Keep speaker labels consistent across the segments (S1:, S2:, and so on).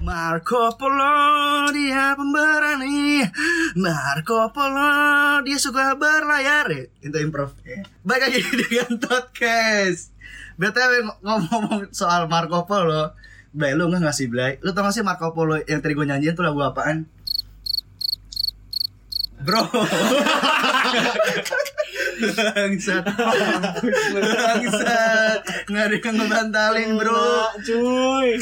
S1: Marco Polo dia pemberani Marco Polo dia suka berlayar Ya, Itu improv ya. Baik lagi dengan podcast BTW ng- ngomong-ngomong soal Marco Polo Blay, lu nggak ngasih Blay? Lu tau gak sih Marco Polo yang tadi gue nyanyiin tuh lagu apaan? Bro Bangsat Bangsat Nggak ada yang ngebantalin bro
S2: Enggak, cuy.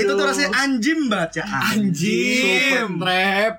S1: Itu tuh rasanya anjim banget ya
S2: Super
S3: Anjim.
S2: trap.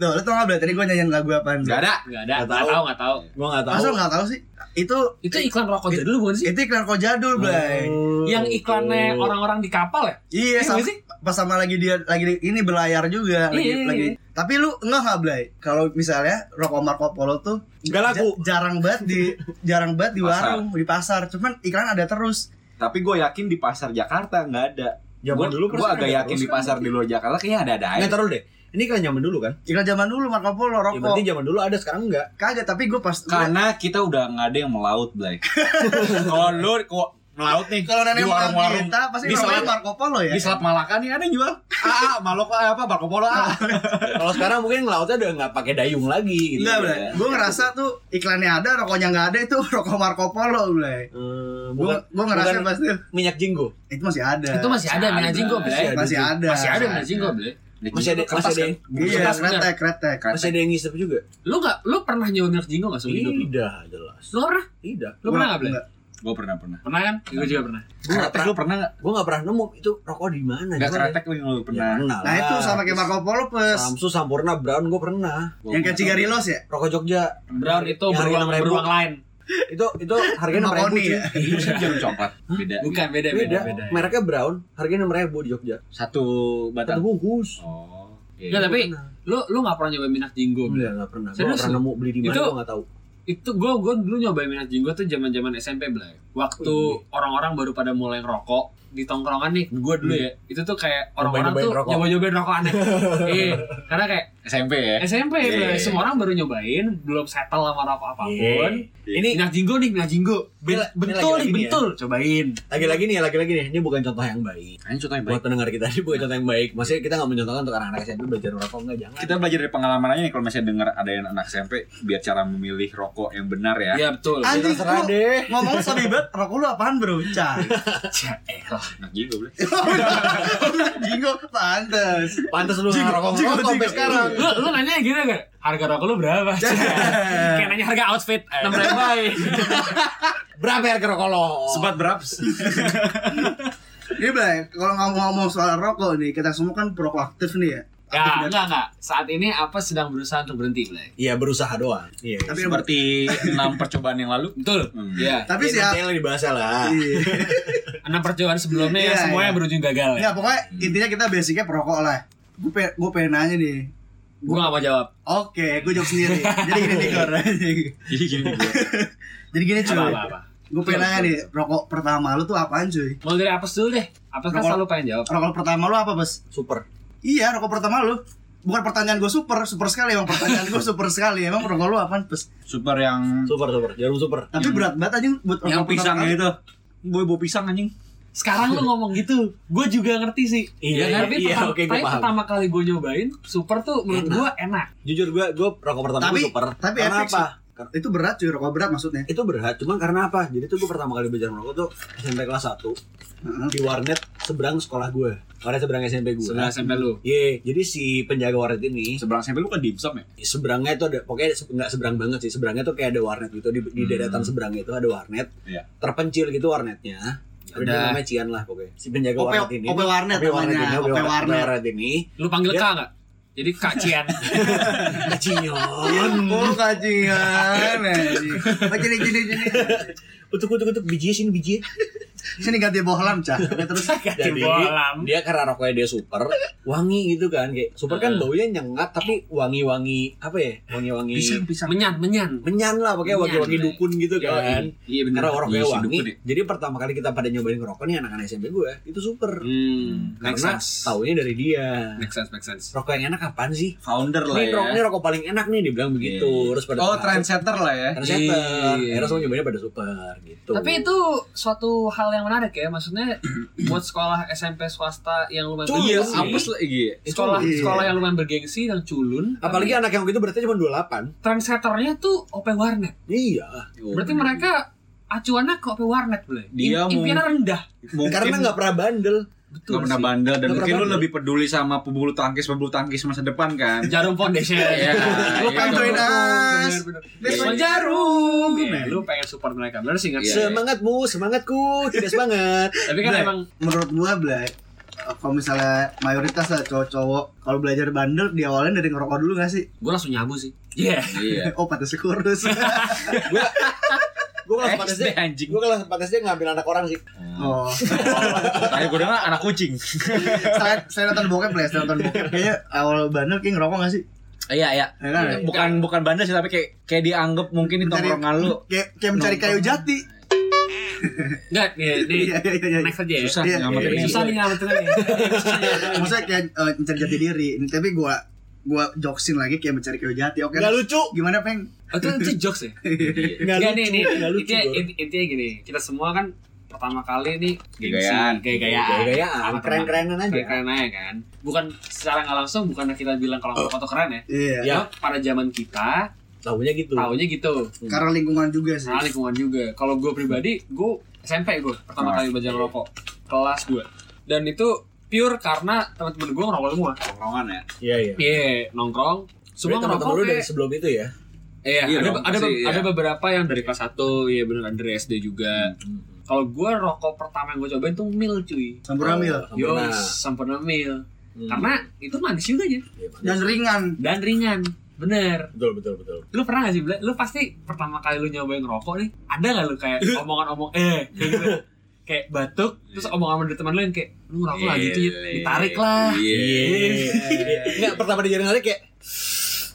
S1: Tuh lu tau gak Blay? Tadi gue nyanyiin lagu apaan
S3: Gak ada.
S4: Enggak ada,
S2: Nggak
S4: enggak
S2: tahu.
S4: tahu, enggak tahu.
S2: Gua enggak tahu.
S1: Masa lu gak tau sih? Itu
S4: Itu iklan rokok dulu bukan sih?
S1: Itu iklan kojadul Blay
S3: Oh.
S4: Yang iklannya orang-orang di kapal ya?
S1: Iya,
S4: Iya
S1: sama,
S4: nggak sih?
S1: pas sama lagi dia lagi di- ini berlayar juga lagi
S4: Iya, iya,
S1: lagi.
S4: iya.
S1: Tapi lu enggak nggak Blay? Kalau misalnya rokok Marco Polo tuh
S2: Enggak
S1: ja-
S2: laku.
S1: jarang banget di jarang banget di
S3: Pasar.
S1: warung, di pasar. Cuman iklan ada terus.
S3: Tapi gue yakin di pasar Jakarta nggak ada.
S2: Zaman
S3: Gua-
S2: Ya, dulu
S3: gua agak yakin
S2: kan
S3: di pasar di luar Jakarta kayaknya ada ada aja.
S2: Enggak taruh deh. Ini kan zaman dulu kan?
S1: Iklan zaman dulu Marco Polo
S3: Iya,
S2: Ya,
S1: rokok.
S2: berarti zaman dulu ada sekarang enggak?
S1: Kagak, tapi gue pas
S3: Karena kita udah nggak ada yang melaut, Blay. Kalau lu kok melaut nih
S1: kalau nenek
S3: di
S1: moyang
S3: warung-warung
S1: kita pasti
S3: di
S1: namanya
S3: Selat-
S1: Marco Polo ya.
S3: di Selat Malaka nih ada yang jual. Ah, ah, Maloko apa Marco Polo ah.
S2: Kalau sekarang mungkin lautnya udah enggak pakai dayung lagi gitu.
S1: Enggak, Blay.
S2: ya.
S1: Gue ngerasa tuh iklannya ada, rokoknya nggak ada itu rokok Marco Polo, Blay.
S2: Eh,
S1: Gue
S2: bukan
S1: gue ngerasa
S2: bukan-
S1: pasti
S2: minyak jinggo.
S1: itu masih ada.
S4: Nah, Itu masih ada
S3: Ada.
S4: Mina Jinggo, Bre.
S1: masih ada.
S4: Masih ada Mina Jinggo, Bre.
S2: Masih ada
S4: Kertas
S2: masih ada
S4: kan?
S2: yang
S1: Iya,
S4: Kertas,
S1: kretek, kretek.
S3: kan?
S2: masih ada yang ngisep juga.
S4: Lu enggak lu pernah nyoba Mina Jinggo enggak seumur hidup lu?
S2: Tidak jelas.
S4: Lu nggak pernah?
S2: Tidak.
S4: Lu pernah enggak, Bre?
S1: Nggak.
S3: Gue pernah pernah.
S4: Pernah kan? Gue juga pernah.
S2: Gua nggak
S3: Kretek lu pernah nggak?
S2: Gua enggak pernah nemu itu rokok di mana.
S3: Nggak
S2: Gua-
S3: kretek lu pernah.
S2: Ya, pernah
S1: Nah itu
S2: lah.
S1: sama kayak Marco Polo pes.
S2: Samsu Sampurna Brown gue pernah.
S3: Gua
S1: yang kayak
S3: pernah.
S1: Cigarillos ya?
S2: Rokok Jogja
S4: Brown itu
S2: Yang
S4: beruang
S2: harga 6.000.
S4: beruang lain.
S2: itu itu harganya enam ribu.
S1: Makoni ya?
S3: Bukan jarum coklat. Beda.
S4: Bukan beda Iya, beda
S2: Beda.
S4: beda.
S2: Mereknya Brown, harganya enam ribu di Jogja.
S3: Satu
S2: Satu
S3: batang.
S2: bungkus.
S3: Oh. iya.
S4: Enggak tapi
S2: Pernah.
S4: lu lu enggak pernah nyoba Mina Jinggo. Bre.
S2: Enggak, enggak pernah. Gue
S4: Serius
S2: pernah
S4: lu?
S2: nemu beli di mana
S4: Itu-
S2: gue enggak tahu.
S4: itu gue gue dulu nyobain minat jinggo tuh zaman zaman SMP belai waktu
S2: Wih.
S4: orang-orang baru pada mulai ngerokok di tongkrongan nih gue dulu ya itu tuh kayak orang-orang
S2: Hmm. Nyobain-nyobain
S4: tuh
S2: rokok.
S4: nyoba-nyobain rokok aneh iya karena kayak
S3: SMP ya.
S4: SMP
S3: Iya,
S4: Blay.
S3: iya.
S4: semua orang baru nyobain belum settle sama rokok apapun
S3: Iya.
S2: Ini
S4: minat jinggo nih minat jinggo Ben-
S2: Ini la- ini
S4: bentul
S2: lagi-lagi nih
S4: nih
S2: ya.
S4: bentul cobain
S2: lagi-lagi nih, lagi-lagi nih. Ini bukan contoh yang baik.
S3: Ini contoh yang baik.
S2: Buat pendengar kita ini bukan contoh yang baik. Maksudnya kita nggak mencontohkan untuk anak-anak SMP belajar merokok enggak jangan.
S3: Kita belajar dari pengalaman aja nih kalau misalnya dengar ada yang anak SMP biar cara memilih rokok yang benar ya.
S4: iya betul
S1: An- Anjing,
S2: terserah
S1: lu-
S2: deh.
S1: Ngomong sobi banget, rokok lu apaan bro? Cah.
S4: Ya, eh, lah.
S3: Anak jigo boleh.
S1: Jinggo pantes.
S2: Pantas lu
S1: Jigo,
S2: ngerokok
S1: jigo,
S2: ngerokok sampai
S1: jigo.
S2: sekarang.
S4: lu lu nanya gitu gak harga rokok lu berapa kayak nanya harga outfit enam ribu
S2: Berapa harga rokok lo?
S3: Sebat beraps.
S1: Ini Blay, kalau ngomong-ngomong soal rokok nih, kita semua kan perokok aktif nih ya. Aktif
S4: Ya,
S1: dan-
S4: enggak, enggak. Saat ini apa sedang berusaha untuk berhenti, Blay?
S2: Iya berusaha doang. Iya.
S1: Tapi
S3: Seperti enam percobaan yang lalu.
S4: Betul.
S3: Hmm.
S4: Iya.
S1: tapi sih
S2: sih nanti yang dibahas lah.
S1: Iya.
S4: Enam percobaan sebelumnya
S1: Iya,
S4: semuanya
S1: iya.
S4: berujung gagal. Ya?
S1: Nggak, pokoknya intinya kita basicnya perokok lah. Gue pengen, gue pengen nanya nih.
S4: Gue gak mau jawab.
S1: Oke, gue jawab sendiri. Jadi gini nih, Kor.
S3: Jadi gini
S2: Iya.
S3: gua.
S1: Jadi gini
S4: Apa
S1: cuy.
S4: apa apa.
S1: Gue pengen nanya nih, rokok pertama lu tuh apaan cuy?
S4: Mulai dari apes dulu deh. Apes kan
S1: Rokok-
S4: selalu pengen jawab.
S1: Rokok pertama lu apa, Bos?
S2: Super.
S1: Iya, rokok pertama lu. Bukan pertanyaan gue super, super sekali emang pertanyaan gue super sekali. Emang rokok lu apaan, Pes?
S3: Super yang
S2: Super super. Jarum super.
S1: Tapi berat banget anjing buat rokok
S3: yang
S1: pertama
S3: pisang gitu.
S1: kali.
S3: itu. Boy bau pisang anjing.
S4: Sekarang lu ngomong gitu, gue juga ngerti sih.
S2: Iya,
S4: kan?
S2: iya,
S4: tapi
S2: iya,
S4: pertama,
S2: oke, gua
S4: tapi
S2: paham.
S4: pertama kali gue nyobain, super tuh menurut
S2: Enak.
S4: gue enak.
S2: Jujur gue gue rokok pertama
S1: Tapi-
S2: gua super.
S1: tapi
S2: karena
S1: efek
S2: apa? Kar-
S1: Itu berat cuy, rokok berat maksudnya.
S2: itu berat, cuman karena apa? Jadi tuh gue pertama kali belajar merokok tuh SMP kelas 1
S1: Heeh.
S2: di warnet seberang sekolah gue. Warnet seberang SMP gue.
S4: Sudah sampai lu.
S2: Ye, jadi si penjaga warnet ini
S3: Seberang SMP lu kan dimsum ya?
S2: seberangnya itu ada pokoknya se- nggak seberang banget sih seberangnya tuh kayak ada warnet gitu di, di
S3: Hmm.
S2: deretan seberangnya itu ada warnet
S3: Iya.
S2: terpencil gitu warnetnya ada
S4: udah.
S2: namanya Cian lah pokoknya si penjaga
S1: Ope,
S2: warnet ini
S1: ope warnet
S2: Ope warnet
S1: namanya,
S2: ini,
S1: ope
S2: Ope
S1: warnet.
S2: warnet ini
S4: Lu panggil
S2: Iya.
S4: Kak nggak? Jadi Kak Cian.
S2: Cian
S1: Oh kacingan anjing. Nah, gini gini gini.
S2: utuk utuk utuk biji sini biji
S1: Sini ganti bohlam, Cah. Oke, terus
S4: Ganti
S2: Jadi, Iya.
S4: bolam.
S2: dia karena rokoknya dia super wangi gitu kan kayak super kan
S4: Hmm.
S2: baunya nyengat tapi wangi-wangi apa ya wangi-wangi
S3: pisang.
S4: Menyan, menyan.
S2: menyan lah pokoknya
S4: Menyan,
S2: wangi-wangi
S4: Blay.
S2: dukun gitu
S4: Yoi.
S2: kan
S4: Iya bener.
S2: karena rokoknya
S3: Iya sih,
S2: wangi
S3: dukun ya.
S2: jadi pertama kali kita pada nyobain ngerokok nih anak-anak SMP gue itu super
S4: Hmm, make
S2: karena
S4: sense.
S2: taunya dari dia
S4: Make sense, make sense.
S2: rokok yang enak apaan sih
S3: Founder lah
S2: ini
S3: ya.
S2: rokok ini rokok paling enak nih dibilang begitu
S3: Iya.
S2: terus pada
S3: Oh,
S2: tahu.
S3: trendsetter lah ya.
S2: trendsetter
S4: Iya.
S2: akhirnya semua nyobainnya pada super gitu
S4: Tapi itu suatu hal yang menarik ya maksudnya buat sekolah SMP swasta yang lumayan
S5: Cuy,
S3: Iya,
S5: Sih.
S3: apes lah iya.
S4: sekolah
S1: Iya.
S4: sekolah yang lumayan bergengsi yang culun
S5: Apalagi anak yang gitu beratnya cuma 28
S4: trendsetternya tuh OP warnet
S5: Iya
S3: Oh,
S4: berarti mereka acuannya ke OP warnet boleh
S3: Dia mau-
S4: impiannya rendah
S3: mungkin
S5: Karena nggak pernah bandel
S3: nggak pernah
S4: sih.
S3: bandel dan
S5: Nggak
S3: mungkin
S5: pernah
S3: lu lebih peduli sama pebulu tangkis pebulu tangkis masa depan kan.
S4: jarum foundation
S3: Iya,
S4: lu
S3: iya.
S4: pengen join
S1: us.
S4: Basement
S3: Iya.
S4: jarum
S1: Iya.
S4: lu pengen support mereka bener sih nggak
S3: Iya.
S4: sih?
S5: Semangatmu, semangatku, tidak semangat
S4: tapi kan
S1: Nah.
S4: emang
S1: menurut gua Blay eh, kalau misalnya mayoritas lah cowok-cowok kalau belajar bandel di awalnya dari ngerokok dulu gak sih?
S4: gue langsung nyabu sih iya
S3: Iya.
S1: Oh pantas kurus.
S5: Gue kelas
S3: SD
S5: 4 SD
S3: anjing.
S5: Gue kelas 4 SD ngambil anak orang sih
S1: oh.
S3: Tapi gue dengar anak kucing.
S1: Selain, selain nonton bokep lah, selain nonton bokep kayaknya awal bandel kayak ngerokok gak sih?
S3: Iya, iya.
S1: Ya kan?
S4: Iya.
S3: Bukan bukan bandel sih tapi kayak kayak dianggap mungkin di
S1: Mencari-
S3: tongkrongan lu
S1: Kayak kayak mencari kayu
S3: Nongkrong.
S1: jati.
S4: nggak nih nih
S1: Iya iya iya. iya.
S4: next aja ya
S3: susah
S1: Iya,
S3: nggak
S1: iya,
S3: ngerti.
S4: susah nih nyelamatinnya nih
S1: Maksudnya kayak eh, mencari jati diri. Ini, Tapi gua gua joksin lagi kayak mencari kayu jati. Oke.
S4: Iya,
S5: Gak lucu
S1: Gimana, Peng?
S4: Oh, itu itu jokes ya
S5: Gak
S3: Iya.
S4: Nggak,
S5: lucu
S4: nih, nih.
S5: Nggak lucu
S4: Intinya,
S5: Gor.
S4: int- intinya gini, kita semua kan pertama kali nih
S3: Gaya-gayaan.
S4: gaya-gayaan,
S5: Gaya-gayaan,
S4: Sama teman.
S5: keren-kerenan aja
S4: keren-keren aja kan. Bukan secara nggak langsung, bukan kita bilang kalau foto keren ya.
S1: Iya.
S5: Ya.
S4: Cuma pada zaman kita,
S5: Taunya gitu
S4: tahunya gitu.
S1: Karena lingkungan juga sih.
S4: Nah, lingkungan juga. Kalau gue pribadi, gue SMP gue pertama
S3: Kelas.
S4: kali belajar merokok kelas gue. Dan itu pure karena teman-teman gue ngerokok semua.
S3: Tongkrongan ya.
S5: Iya iya
S4: Iya, nongkrong. Semua
S5: Semua
S4: ngerokok.
S5: teman-teman lu
S4: kayak-
S5: dari sebelum itu ya
S4: Iya,
S3: Iya
S4: ada,
S3: dong,
S4: ada,
S3: pasti,
S4: ada
S3: iya.
S4: beberapa yang dari kelas 1, ya beneran dari SD juga. Kalau gue rokok pertama yang gue cobain tuh mil cuy.
S1: Sampurna mil.
S4: Yo,
S5: Sampurna.
S4: sempurna mil.
S5: Hmm.
S4: Karena itu manis juga ya
S5: Iya, manis.
S1: Dan ringan.
S4: dan ringan. Bener.
S5: Betul betul betul
S4: Lu pernah gak sih, Ble? Lu pasti pertama kali lu nyobain rokok nih, ada gak lu kayak omongan-omong eh kayak gitu. kayak batuk, terus omongan dari teman lu yang kayak lu ngerokok lagi tuh, Yit. ditarik lah.
S3: Iya.
S5: Enggak Nah. pertama dia narik kayak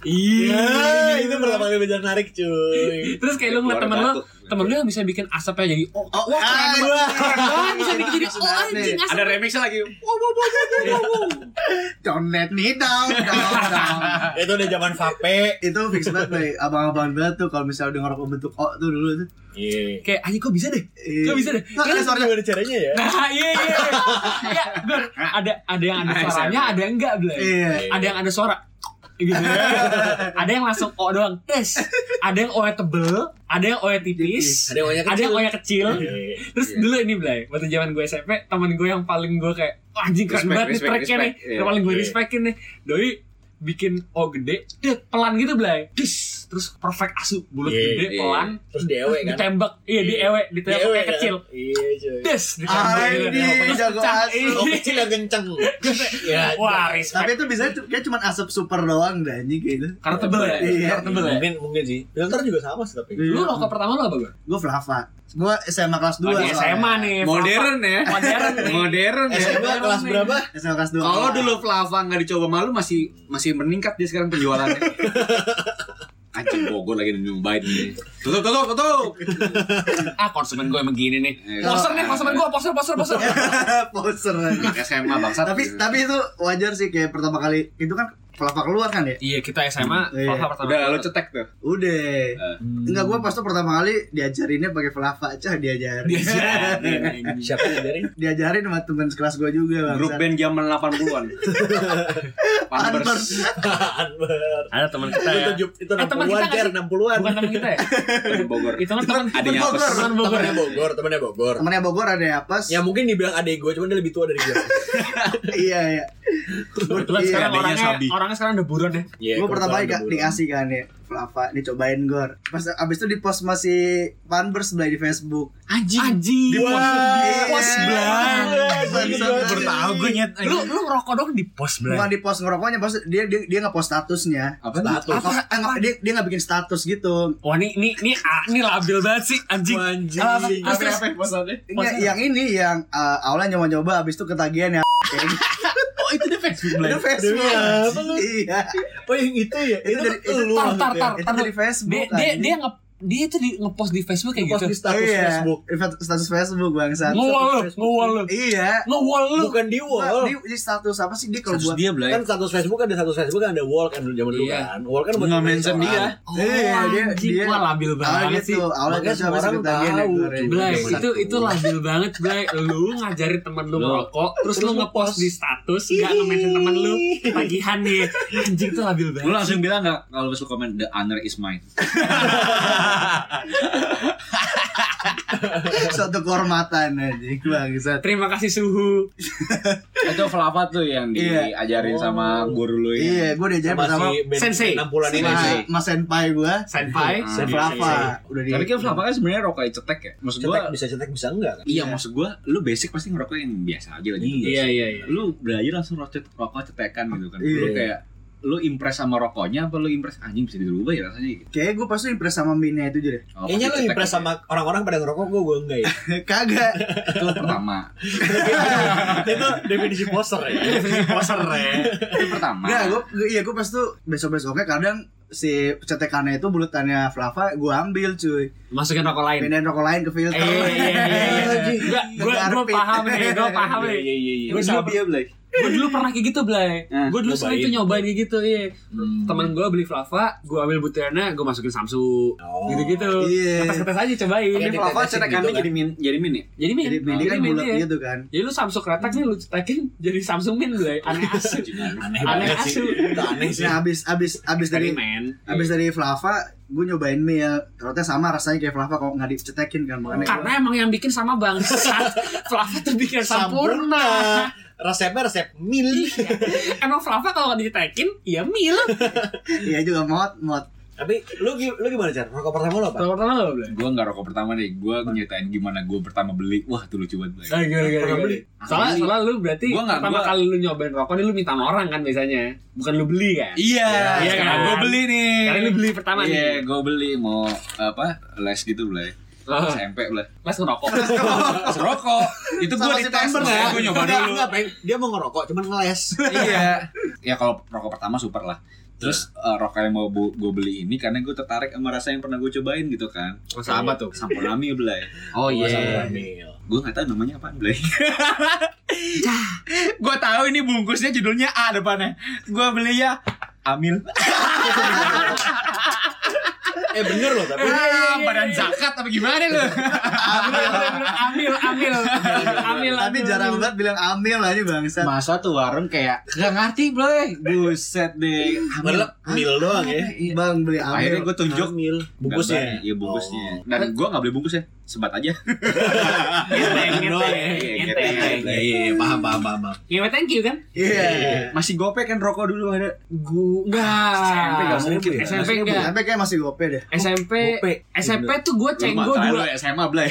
S5: Iya, itu pertama kali belajar narik cuy.
S4: Terus kayak lu ngeliat temen lu, temen lu yang bisa bikin asapnya jadi oh,
S1: Oh,
S4: wah,
S1: ah,
S4: keren
S1: gua.
S4: keren banget bisa bikin jadi oh anjing asap.
S3: Ada remixnya lagi.
S1: Don't let me down, down, down.
S5: Itu udah zaman vape.
S1: itu fix banget Bay. abang-abang banget tuh kalau misalnya udah ngerokok bentuk O tuh dulu tuh Iya.
S5: Iya.
S4: Kayak anjing kok bisa deh. Kok bisa deh?
S1: Nggak, ada suaranya
S5: Gimana caranya ya?
S4: Nah, iya iya. iya. Ya, Gur, ada ada yang ada
S3: Nah,
S4: suaranya,
S3: saya-
S4: ada yang enggak, Blay.
S1: iya
S4: Ada yang ada suara. Gitu. ada yang langsung O doang, tes. Ada yang O tebel, ada yang O tipis,
S5: Ada yang banyak
S4: ada yang O kecil.
S5: Iya.
S4: Terus
S3: Iya.
S4: dulu ini, Blay, waktu zaman gue SMP, teman gue yang paling gue kayak "Wah, anjing keren
S3: Respect,
S4: banget nih
S3: respect,
S4: tracknya nih.
S3: respect. Iya,
S4: Yang paling gue
S5: iya.
S4: respectin nih. Doi bikin O gede, det, pelan gitu, Blay. Dis, terus perfect asu, bulat
S5: Iya,
S4: gede,
S3: iya.
S4: pelan,
S5: Terus diewe kan?
S4: ditembak. Iya, di ewe, ditembak
S5: Diewe
S4: kayak
S5: kan?
S4: kecil.
S5: Iya, cuy.
S4: Des, ditembak gitu.
S1: Anjing, jago
S4: Cah,
S1: asu.
S4: ih.
S5: Oh, kecil yang kenceng. Ya,
S4: Wah,
S1: tapi
S4: respect.
S1: itu biasanya cu- kayak cuma asap super doang dah anjing kayak gitu
S4: Karena tebel ya.
S1: Iya.
S4: Karena tebel ya.
S5: Mungkin mungkin sih. Filter juga sama sih tapi.
S4: Lu rokok pertama lu apa, Bang?
S1: gue flava gue SMA kelas 2
S4: Lagi SMA nih.
S3: Modern ya.
S4: Modern nih.
S3: Modern
S4: Eh,
S3: ya.
S5: SMA kelas berapa?
S1: SMA kelas 2
S3: Kalau dulu Flava nggak dicoba malu masih masih meningkat dia sekarang penjualannya. Anjing Bogor lagi nyumbait nih. Tutup tutup tutup.
S4: Ah, konsumen Iya, gue emang gini nih.
S3: Iya.
S4: Poser nih, konsumen gue, poser, poser, poser.
S1: poser
S3: Anak SMA bangsa.
S1: tapi tapi itu wajar sih kayak pertama kali itu kan flava keluar kan ya
S4: Iya, kita SMA,
S1: Iya.
S4: Papa pertama.
S3: udah lo cetek tuh.
S1: udah
S3: Eh.
S4: Hmm.
S1: Enggak, gue pas tuh pertama kali diajarinnya pakai flava aja diajarin.
S4: Dia jaring, anjing.
S5: Siapa yang dari?
S1: diajarin sama temen sekelas gue juga
S3: Grup
S1: bangsa.
S3: band zaman 80-an.
S1: Pampers.
S3: Pampers.
S5: Anbar.
S4: Ada teman kita
S5: Itu
S4: ya.
S5: tujuh, itu
S4: Eh, teman
S5: 60-an, Ger,
S4: kita nggak sih?
S5: 60-an.
S4: Bukan teman kita ya?
S3: Temen Bogor.
S4: Itu kan teman
S3: Adanya
S1: Temen
S3: apa
S1: Bogor.
S4: teman Bogor.
S5: Temennya Bogor, temennya Bogor.
S1: Temennya Bogor ada ya pas?
S5: Ya mungkin dibilang adek gue, cuman dia lebih tua dari gue.
S1: iya iya.
S4: Kebetulan
S1: Iya.
S4: sekarang
S3: adanya
S4: orangnya
S3: Sabi.
S4: orangnya sekarang udah buron ya.
S5: Iya,
S1: gue pertama
S5: kebetulan
S1: kali gak
S5: ada bulan.
S1: dikasih kan ya Flava ini cobain gor pas abis itu di post masih Pampers Blay di Facebook
S4: Anjing. Anjing.
S1: Wah.
S4: Pos
S2: Iya.
S4: belang.
S1: Bangsat.
S3: Bertahu gue nyet.
S4: Lu lu ngerokok dong di pos
S1: bukan
S4: belang.
S1: di post ngerokoknya pas dia dia, dia nggak post statusnya
S3: Apa?
S5: Status.
S1: Nggak- eh, nggak- dia dia nggak bikin status gitu
S4: Wah, ini ini ini ah, ini labil banget sih anjing.
S5: Anjing.
S4: Apa-
S3: Apa
S4: Terus, terus.
S3: apa posannya?
S1: Nggak, yang ini yang eh, awalnya nyoba-nyoba abis itu ketagihan ya
S4: Oh, itu di Facebook
S1: itu Facebook
S5: Demi apa lu?
S1: iya
S5: Oh yang itu ya?
S1: itu dari itu
S5: lu
S4: Tar,
S5: maksudnya.
S4: tar, tar.
S2: ya?
S1: itu dari Facebook
S4: Dia dia
S1: anjing.
S4: dia nge dia itu di ngepost di Facebook
S2: Ngepost
S4: kayak gitu.
S2: di status
S1: Iya,
S2: Facebook.
S1: Status Facebook bangsat.
S4: Ngowal lu,
S2: Facebook.
S4: ngowal lu.
S1: Iya.
S4: Ngowal lu.
S2: Bukan di
S1: Nah,
S2: wall.
S1: Di, di status apa sih dia kalau
S3: Terus
S1: buat
S3: dia belai.
S2: Kan status Facebook ada status Facebook kan ada wall kan dulu zaman dulu
S4: Iya.
S2: kan. Wall kan buat
S3: Nggak mention
S2: orang.
S3: dia.
S4: Oh,
S1: Iya, dia-
S4: anjing,
S1: dia-
S4: wah labil
S1: awalnya
S4: banget sih.
S1: tuh Ah, gitu. awalnya
S2: Makanya
S1: tuh
S2: semua orang
S1: kita dia
S2: tahu.
S1: negoreng.
S4: Blay,
S2: Bangsat
S4: itu itu
S2: lu.
S4: labil banget, Blay. Lu ngajarin temen lu
S3: Lu.
S4: merokok, terus, lu
S2: Terus lu
S4: ngepost
S2: post.
S4: di status, gak nge-mention temen lu tagihan nih. Anjing tuh labil
S3: Lu
S4: banget.
S3: langsung bilang gak kalau besok komen the honor is mine.
S1: Suatu kehormatan anjing bangsat.
S4: Terima kasih suhu.
S3: Itu Flava tuh yang
S1: Iya.
S3: diajarin sama guru lu
S1: Iya,
S3: ya.
S1: gue diajarin
S2: Sama
S1: pertama
S2: si Ben
S4: Sensei.
S2: enam bulan ini.
S1: sama
S3: Sensei.
S1: Mas Senpai gue.
S4: Senpai.
S3: Ah,
S2: Sensei.
S1: Flava udah di
S3: Tapi kan Flava kan sebenarnya rokok yang cetek ya. Maksud
S2: Cetek
S3: gua
S2: bisa cetek bisa enggak kan?
S3: Iya, maksud gua lu basic pasti ngerokok yang biasa aja lah gitu.
S4: Iya, iya, iya.
S3: Lu belajar langsung rokok rokok cetekan gitu kan.
S1: Iya.
S3: Lu kayak lu impress sama rokoknya apa lu impress anjing bisa dirubah ya rasanya gitu.
S1: Kayaknya gue pasti impress sama Mina itu aja deh
S3: Oh,
S2: Kayaknya lu
S3: pasti cetek
S2: impress
S3: aja.
S2: sama orang-orang pada ngerokok gua gua enggak ya.
S1: Kagak
S3: itu pertama.
S2: itu definisi poser ya.
S4: Poser ya.
S3: Itu pertama.
S1: Enggak, gue iya gue pas tuh besok-besoknya kadang si cetekannya itu bulatannya Flava gue ambil cuy
S4: Masukin rokok lain.
S1: Pindahin rokok lain ke filter
S4: Eh, iya, iya, iya, iya. Enggak, gue gue
S1: Garpit.
S4: paham nih, gue paham nih.
S2: Iya iya iya.
S4: Gue dulu,
S3: dia Blay.
S4: gue dulu pernah kayak gitu, Blay.
S3: Ah,
S4: Gue dulu sering tuh
S2: nyobain.
S4: nyobain kayak gitu, iya. Temen gue beli Flava, gue ambil butirannya, gue masukin Samsu.
S2: Oh.
S4: Gitu-gitu.
S1: Iya.
S4: Tes-tes aja cobain.
S2: Tapi
S3: Ini Flava
S2: ditetesin
S3: cetekannya
S2: gitu kan.
S3: jadi min jadi min ya?
S4: Jadi min,
S1: Jadi Mina kan
S4: jadi min
S1: bulat
S4: ya.
S1: gitu kan
S4: Jadi lu Samsung retak nih lu cetekin jadi Samsung min Blay. Aneh asu.
S2: Aneh
S4: Aneh
S2: banget sih.
S4: asu.
S2: Itu aneh sih.
S1: Nah abis, abis, abis dari
S4: Eksperimen.
S1: Abis dari Flava, gue nyobain mie Ternyata sama rasanya kayak Flava kalau nggak dicetekin kan makanya
S4: Karena
S1: gua-
S4: emang yang bikin sama bangsat. Flava tuh bikin sempurna.
S2: Resepnya resep mil.
S4: Iya. Emang Flava kalau nggak ditekin, ya mil.
S1: Iya juga mot mot.
S2: Tapi lu gi- lu gimana cara rokok pertama lu apa?
S4: Pertama-tama nggak boleh.
S3: Gue nggak rokok pertama deh. Gue nyeritain gimana gue pertama beli. Wah, itu lucu banget. Blay.
S4: Ah, gimana, gimana,
S2: Pertama
S4: gimana?
S2: beli.
S4: Soalnya,
S3: Beli.
S4: soalnya lu berarti
S3: Gua nggak-
S4: pertama
S3: gua-
S4: kali lu nyobain rokok nih lu minta sama orang kan biasanya. Bukan lu beli kan?
S3: Iya,
S4: Iya
S3: sekarang
S4: kan?
S3: gue beli nih.
S4: Kali lu beli pertama
S3: Iya,
S4: nih.
S3: gue beli mau apa? Les gitu Blay.
S4: Oh,
S3: SMP Blay.
S4: Mas ngerokok.
S3: Rokok. Itu gue
S1: Sama si
S3: dites
S1: Pember,
S3: makanya
S1: ya?
S3: gue nyoba
S2: Enggak,
S3: dulu.
S2: enggak, Peng. Dia mau ngerokok cuman ngeles.
S3: Iya. Ya kalau rokok pertama super lah. Terus eh, rokok yang mau gue beli ini karena gue tertarik sama rasa yang pernah gue cobain gitu kan.
S4: Masa apa tuh?
S3: Samponami Blay.
S4: Oh
S2: Sama
S4: iya.
S2: mil.
S3: Gue gak tahu namanya apa Blay. gue tahu ini bungkusnya judulnya A depannya. Gue beli ya Amil.
S2: Eh bener loh tapi.
S3: Ah, badan zakat apa gimana lu?
S4: Amil, amil, amil.
S1: Tapi
S4: amil.
S1: jarang banget bilang amil aja bangsa.
S3: Masa tuh warung kayak gak ngerti Blay. Buset deh.
S2: Padahal mil doang ya.
S1: Bang beli
S3: Akhirnya
S1: amil.
S3: gue tunjuk
S2: Mil.
S3: Gambarnya,
S2: Bungkusnya. Oh.
S3: Iya bungkusnya. Dan gue gak beli bungkus ya, sebat aja.
S4: Enteng, enteng,
S3: Iya,
S4: enteng.
S3: enteng.
S2: Iya, iya, iya, paham, paham, paham. paham.
S4: Ngewe thank you kan?
S1: Iya.
S3: Masih gope kan rokok dulu ada.
S4: Gu enggak.
S3: SMP nggak mungkin.
S4: SMP enggak.
S1: Tapi kayak masih gope deh.
S4: SMP
S2: Gope.
S4: SMP tuh gue cenggo
S3: Masalah
S4: dua.
S3: lu ya. SMA Blay.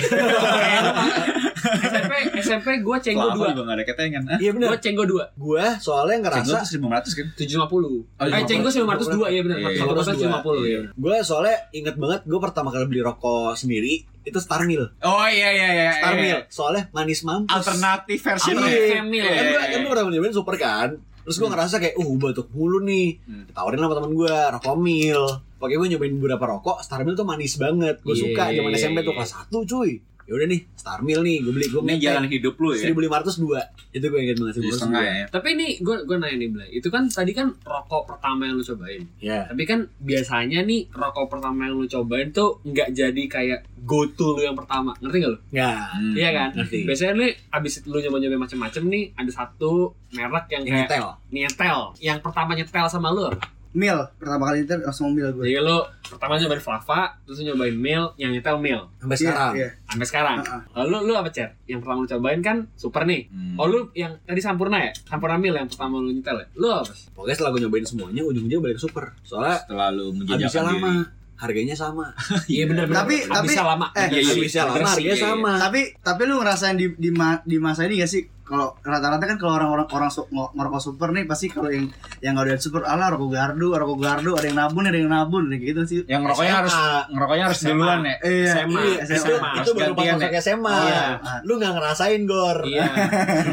S4: SMP SMP gue cenggo
S3: Lama
S4: dua.
S3: juga gak ada ketengan. Ah,
S2: Iya bener.
S4: Gue cenggo dua.
S2: Gue soalnya
S3: Cenggo
S2: ngerasa
S3: tuh 1500 kan?
S4: tujuh lima puluh.
S3: Oh,
S4: Eh
S3: 750.
S4: cenggo sembilan ratus dua ya benar.
S3: Iya,
S4: Satu botol tujuh lima puluh ya.
S2: Gue soalnya inget banget gue pertama kali beli rokok sendiri itu Star Mil.
S3: Oh iya iya iya.
S2: Star
S3: iya.
S2: Mil. Soalnya manis mampus.
S3: Alternatif ya. versi
S4: Alternatif
S3: Blay.
S4: Emil.
S2: Kan gue kan
S3: Iya.
S2: gua pernah nyobain super kan. Terus gue ngerasa kayak uh batuk mulu nih.
S3: Hmm.
S2: Tawarin sama teman gue rokok Mil. Pokoknya gue nyobain beberapa rokok Star Mil tuh manis banget. Gue
S4: Iya,
S2: suka zaman
S4: iya,
S2: SMP tuh
S4: iya.
S2: kelas 1 cuy. Ya udah nih Star Mil nih gue beli gue
S3: Ini jalan hidup lu ya.
S2: 1502 itu gue inget banget
S3: Seribu setengah
S2: 1502
S3: ya.
S4: Tapi ini gue gue nanya nih Blay, itu kan tadi kan rokok pertama yang lu cobain.
S2: ya
S4: Tapi kan biasanya nih rokok pertama yang lu cobain tuh nggak jadi kayak go to lu yang pertama, ngerti gak lu?
S2: nggak
S3: Hmm.
S4: Iya kan?
S2: ngerti
S4: Biasanya nih abis lu nyoba-nyoba macem-macem nih ada satu merek yang
S2: yang
S3: Iya.
S4: kayak
S2: nyetel
S4: nyetel. Yang pertama nyetel sama lu apa?
S1: Mil pertama kali itu langsung mil gue.
S4: Jadi lu pertama nyobain Flava, terus lu nyobain Mil, yang nyetel Mil.
S2: sampai sekarang
S1: Iya.
S4: Sampai sekarang.
S1: Heeh.
S4: Lalu lu apa, Cer? Yang pertama lu cobain kan super nih.
S3: Hmm.
S4: Oh lu yang tadi Sampurna ya? Sampurna Mil yang pertama lu nyetel ya? Lu apa? sih?
S2: pokoknya setelah gue nyobain semuanya ujung-ujungnya balik super soalnya
S3: setelah lu
S2: eh, habisnya
S3: menjejakkan
S2: lama
S3: diri.
S2: harganya sama
S4: Iya benar-benar.
S1: Tapi- tapi-
S4: lama.
S1: eh,
S3: Iya, iya.
S2: habisnya lama
S3: Bersih,
S2: harganya
S3: iya, iya.
S2: sama
S1: Tapi tapi lu ngerasain di di, ma- di masa ini gak sih kalau rata-rata kan kalau orang-orang orang su- ngo- ngerokok super nih pasti kalau yang yang nggak ada super ala rokok gardu rokok gardu ada yang nabun ada yang nabun gitu sih
S3: Yang ngerokoknya
S2: SMA.
S3: harus ngerokoknya harus
S4: SMA.
S3: duluan ya.
S1: Iya.
S4: SMA.
S1: Iya,
S2: itu,
S1: SMA.
S2: itu baru pas
S3: Gantian
S2: masuk
S3: ya.
S2: SMA.
S1: Iya.
S2: Lu nggak ngerasain gor.
S3: Iya.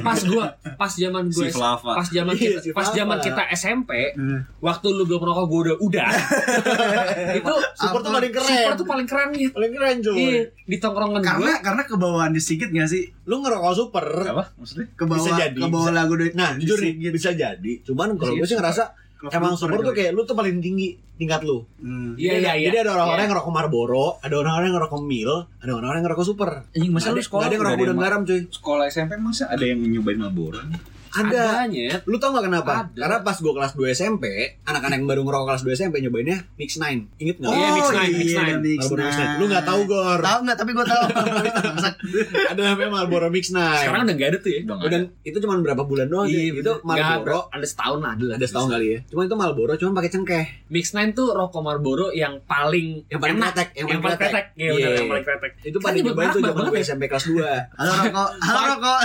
S4: pas gua pas zaman
S3: Si
S4: gua
S3: Flava.
S4: pas zaman
S2: Iya,
S4: kita
S2: si
S4: pas
S2: Flava.
S4: zaman kita SMP
S1: Hmm.
S4: waktu lu belum rokok gua udah udah itu
S2: Super tuh
S1: Apa?
S2: paling keren.
S4: super tuh paling keren nih
S2: paling keren cuy.
S4: Iya, di tongkrongan
S1: karena
S4: gua
S1: karena kebawaan disikit nggak sih
S2: Lu ngerokok super.
S3: Apa maksudnya?
S1: kebawa
S2: Bisa jadi,
S1: kebawa lagu dari
S2: Nah, jujur nih bisa jadi. Cuman kalau
S3: Iya,
S2: gue sih ngerasa emang super tuh
S1: kayak
S2: kayak lu tuh paling tinggi tingkat lu.
S1: Hmm.
S4: Iya
S2: Jadi
S4: iya
S2: ada-
S4: iya.
S2: Jadi ada orang-orang yang ngerokok Marlboro, ada orang-orang yang ngerokok Mil, ada orang-orang yang ngerokok Super.
S3: Anjing masa
S2: Nggak
S3: lu
S2: ada-
S3: sekolah
S2: nggak ada yang ngerokok
S3: udah
S2: udang
S3: ada
S2: garam cuy.
S3: yang- sekolah SMP masa ada yang nyobain Marlboro?
S2: Ada. Nah,
S4: Adanya.
S2: Lu tau gak kenapa?
S4: Ada.
S2: Karena pas gua kelas 2 SMP, anak-anak yang baru ngerokok kelas 2 SMP nyobainnya Mix 9. Ingat gak?
S1: Oh,
S4: Iya, Mix Nine, Mix
S1: iya,
S4: Nine.
S1: Mix
S2: Marlboro Mix 9.
S1: Nine.
S2: Lu gak tahu Gor.
S1: Tahu nggak? Tapi gue tahu. Bangsat.
S2: ada namanya Marlboro Mix 9.
S4: Sekarang udah nggak ada tuh ya.
S3: Udah nggak ada.
S2: udah itu cuma berapa bulan doang sih. Itu Marlboro
S4: Nggak, ada setahun lah dulu.
S2: ada setahun kali ya. Cuma itu Marlboro cuma pakai cengkeh.
S4: Mix Nine tuh rokok Marlboro yang paling
S2: Yang paling
S4: enak.
S2: kretek,
S4: Yang paling kretek. Iya,
S2: Iya.
S4: bener, yang paling kretek.
S2: Itu
S4: Kan
S2: paling
S4: nyebut
S2: nyobain tuh
S4: merek
S2: zaman
S4: banget
S2: gue
S4: ya.
S2: SMP kelas 2.
S1: Halo rokok. Halo rokok.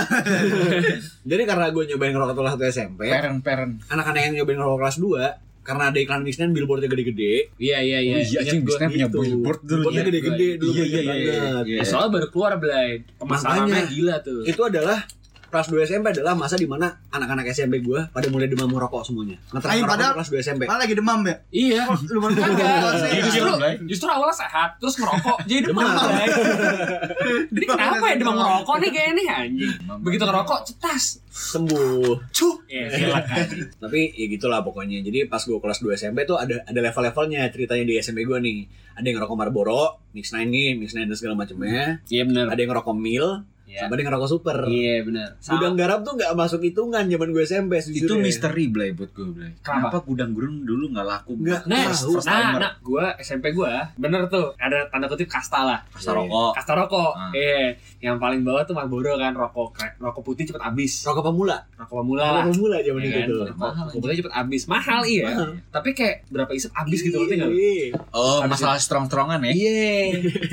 S2: Jadi karena gue nyobain ngerokok kelas 1 SMP,
S3: Parent parent.
S2: anak-anak yang nyobain ngerokok kelas 2 karena ada iklan Mix 9 billboardnya gede-gede,
S4: Iya, iya, iya.
S3: Oh iya,
S4: Ingat
S3: anjing
S4: gua.
S3: bisnisnya punya
S2: gitu.
S3: billboard dulu.
S2: Billboardnya
S3: ya.
S2: gede-gede dulu,
S3: Iya iya
S2: gede
S3: iya.
S2: banget.
S3: iya.
S4: Ya, soalnya baru keluar Blay. Pemasarannya
S2: Makanya.
S4: gila tuh.
S2: itu adalah kelas 2 SMP adalah masa di mana anak-anak SMP gua pada mulai demam merokok semuanya.
S1: Ayo,
S2: Ngetren merokok
S1: padahal-
S2: tuh kelas 2 SMP.
S1: Malah lagi demam ya.
S4: Iya.
S1: Oh, Lu baru
S4: Kagak.
S3: Iya,
S4: Justru
S3: Blay.
S4: justru awalnya sehat, terus ngerokok, jadi demam.
S2: Demam.
S4: Blay. Ini kenapa ya demam ngerokok nih kayaknya nih anjing. Begitu ngerokok cetas.
S2: Sembuh.
S4: Cuk. Iya, silakan.
S2: Tapi ya gitulah pokoknya. Jadi pas gua kelas 2 SMP tuh ada ada level-levelnya ceritanya di SMP gua nih. Ada yang ngerokok Marlboro, Mix 9 nih, Mix 9 dan segala macamnya.
S4: Iya benar.
S2: Ada yang ngerokok Mil,
S4: Iya.
S2: sama ada yang ngerokok Super.
S4: Iya benar.
S2: Gudang garam tuh nggak masuk hitungan zaman gue SMP sejujurnya.
S3: Itu misteri Blay buat gue Blay.
S4: Kenapa?
S3: Kenapa gudang gurun dulu nggak laku?
S2: Nggak.
S4: Nah,
S2: Tahu,
S3: first
S4: nah,
S3: timer.
S4: nah, gue SMP gue bener tuh ada tanda kutip kasta lah,
S3: Kasta
S2: Iya.
S3: rokok.
S4: kasta rokok.
S3: Ah.
S4: Iya, yang paling bawah tuh Marlboro kan rokok kre- rokok putih cepet habis,
S2: Rokok pemula,
S4: rokok pemula lah.
S2: rokok pemula zaman
S4: Iya
S2: itu
S4: kan?
S2: tuh.
S4: Rokok- Rokok putih cepet habis, mahal iya.
S2: Mahal.
S4: Tapi kayak berapa isep habis gitu ngerti nggak? lu?
S2: Iya.
S3: Oh masalah strong strongan ya.
S4: Iya.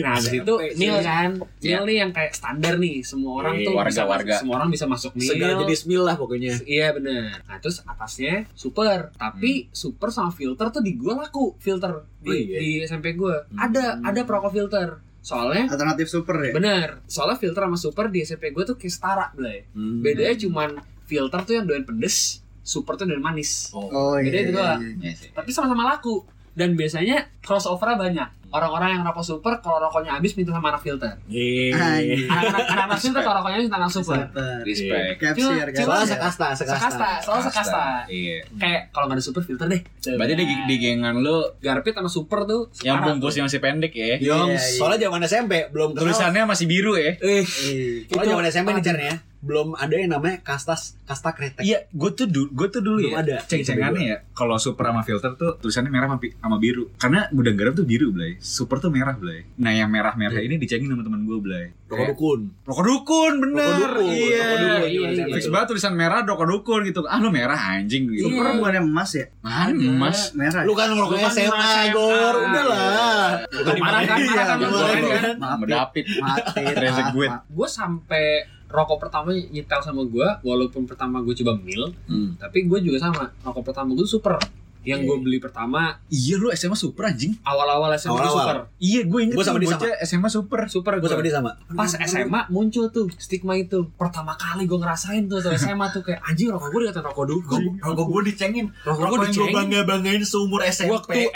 S4: Nah, habis itu
S2: Sampai
S4: mil
S2: sih.
S4: kan.
S3: Iya.
S4: Mil nih yang kayak standar nih, semua orang
S2: Iya,
S4: tuh bisa
S3: warga-warga.
S4: semua orang bisa masuk mil.
S2: Segala jenis mil lah pokoknya.
S4: Iya bener Nah terus atasnya super Tapi super sama filter tuh di gue laku Filter
S2: Hmm.
S4: di,
S2: Oh, iya. Hmm.
S4: di SMP gue Ada ada perokok filter Soalnya
S1: Alternatif super ya.
S4: bener Soalnya filter sama super di SMP gue tuh kayak setara Blay.
S2: Hmm.
S4: Bedanya cuman filter tuh yang doyan pedes Super tuh yang doyan manis
S2: Oh.
S1: Oh
S4: Bedanya itu doang.
S1: iya.
S3: Iya sih.
S4: Tapi sama-sama laku Dan biasanya crossovernya banyak
S2: Hmm.
S4: Orang-orang yang rokok super kalau rokoknya habis minta sama anak filter
S1: Anjing.
S2: Iya.
S4: Anak-anak anak-anak filter kalau rokoknya minta sama anak super
S1: Super.
S3: Respect.
S1: Capsir
S4: Cuma-
S1: kan.
S2: Ya, Soalnya
S1: Iya.
S2: sekasta, sekasta.
S4: Sekasta, soalnya sekasta
S3: Iya.
S4: Kayak kalau nggak ada super filter deh
S3: Berarti di, di gengan lu
S4: Garpit sama super tuh
S3: yang
S4: setara.
S3: bungkusnya masih pendek ya.
S2: Yong,
S1: Iya, iya.
S2: soalnya zaman SMP belum kenal.
S3: Tulisannya masih biru ya.
S4: Eh,
S1: Iya.
S2: Soalnya
S4: Itu-
S2: zaman SMP nih Cern, ya. Belum ada yang namanya kastas, kasta kretek.
S3: Iya, gue tuh dulu, gue tuh dulu
S2: Belum
S3: ya.
S2: ada.
S3: Ceng-cengannya ya, kalau super sama filter tuh tulisannya merah sama, pi- sama biru. Karena gudang garam tuh biru, Blay. Super tuh merah, Blay. Nah, yang merah-merah ini dicengin sama teman gue, Blay.
S2: Rokok
S3: Kayak,
S2: dukun.
S3: Rokok dukun, bener.
S2: Rokok dukun,
S3: Iya.
S2: rokok dukun
S4: iya,
S2: zaman
S4: iya.
S2: SMP
S3: Fix
S2: tuh.
S3: banget tulisan merah, rokok dukun gitu. Ah, lu merah anjing
S4: Iya.
S3: gitu.
S1: Super bukan yang emas ya?
S3: Mana mas?
S1: Merah.
S2: Lu kan
S4: Lu
S2: ngerokoknya
S4: kan
S2: SMA,
S4: SMA.
S2: Gor. Udah lah.
S4: Lu marah kan, marah kan,
S2: Iya,
S4: lu kemarin
S2: iya.
S4: kan.
S1: Maaf, ya.
S3: Medapit.
S1: Mati.
S3: Rese
S1: maaf,
S3: gue.
S1: maaf.
S4: Gue sampai rokok pertama nyetel sama gue, walaupun pertama gue coba mil,
S3: Hmm.
S4: tapi gue juga sama. Rokok pertama gue super. Yang gue beli pertama
S3: Iya, lu SMA super anjing.
S4: awal-awal SMA gue
S2: Awal-awal.
S4: super.
S3: Iya, gue inget
S2: Gua sama
S3: tuh
S2: dia sama.
S3: bocah SMA super.
S4: Super
S2: Gue
S4: gue.
S2: sama dia sama.
S4: Pas SMA muncul tuh stigma itu. Pertama kali gue ngerasain tuh atau SMA tuh kayak anjing rokok gue dikatain rokok dukun.
S3: Rokok gue dicengin.
S4: Rokok gue dicengin.
S2: bangga-banggain seumur
S4: Waktu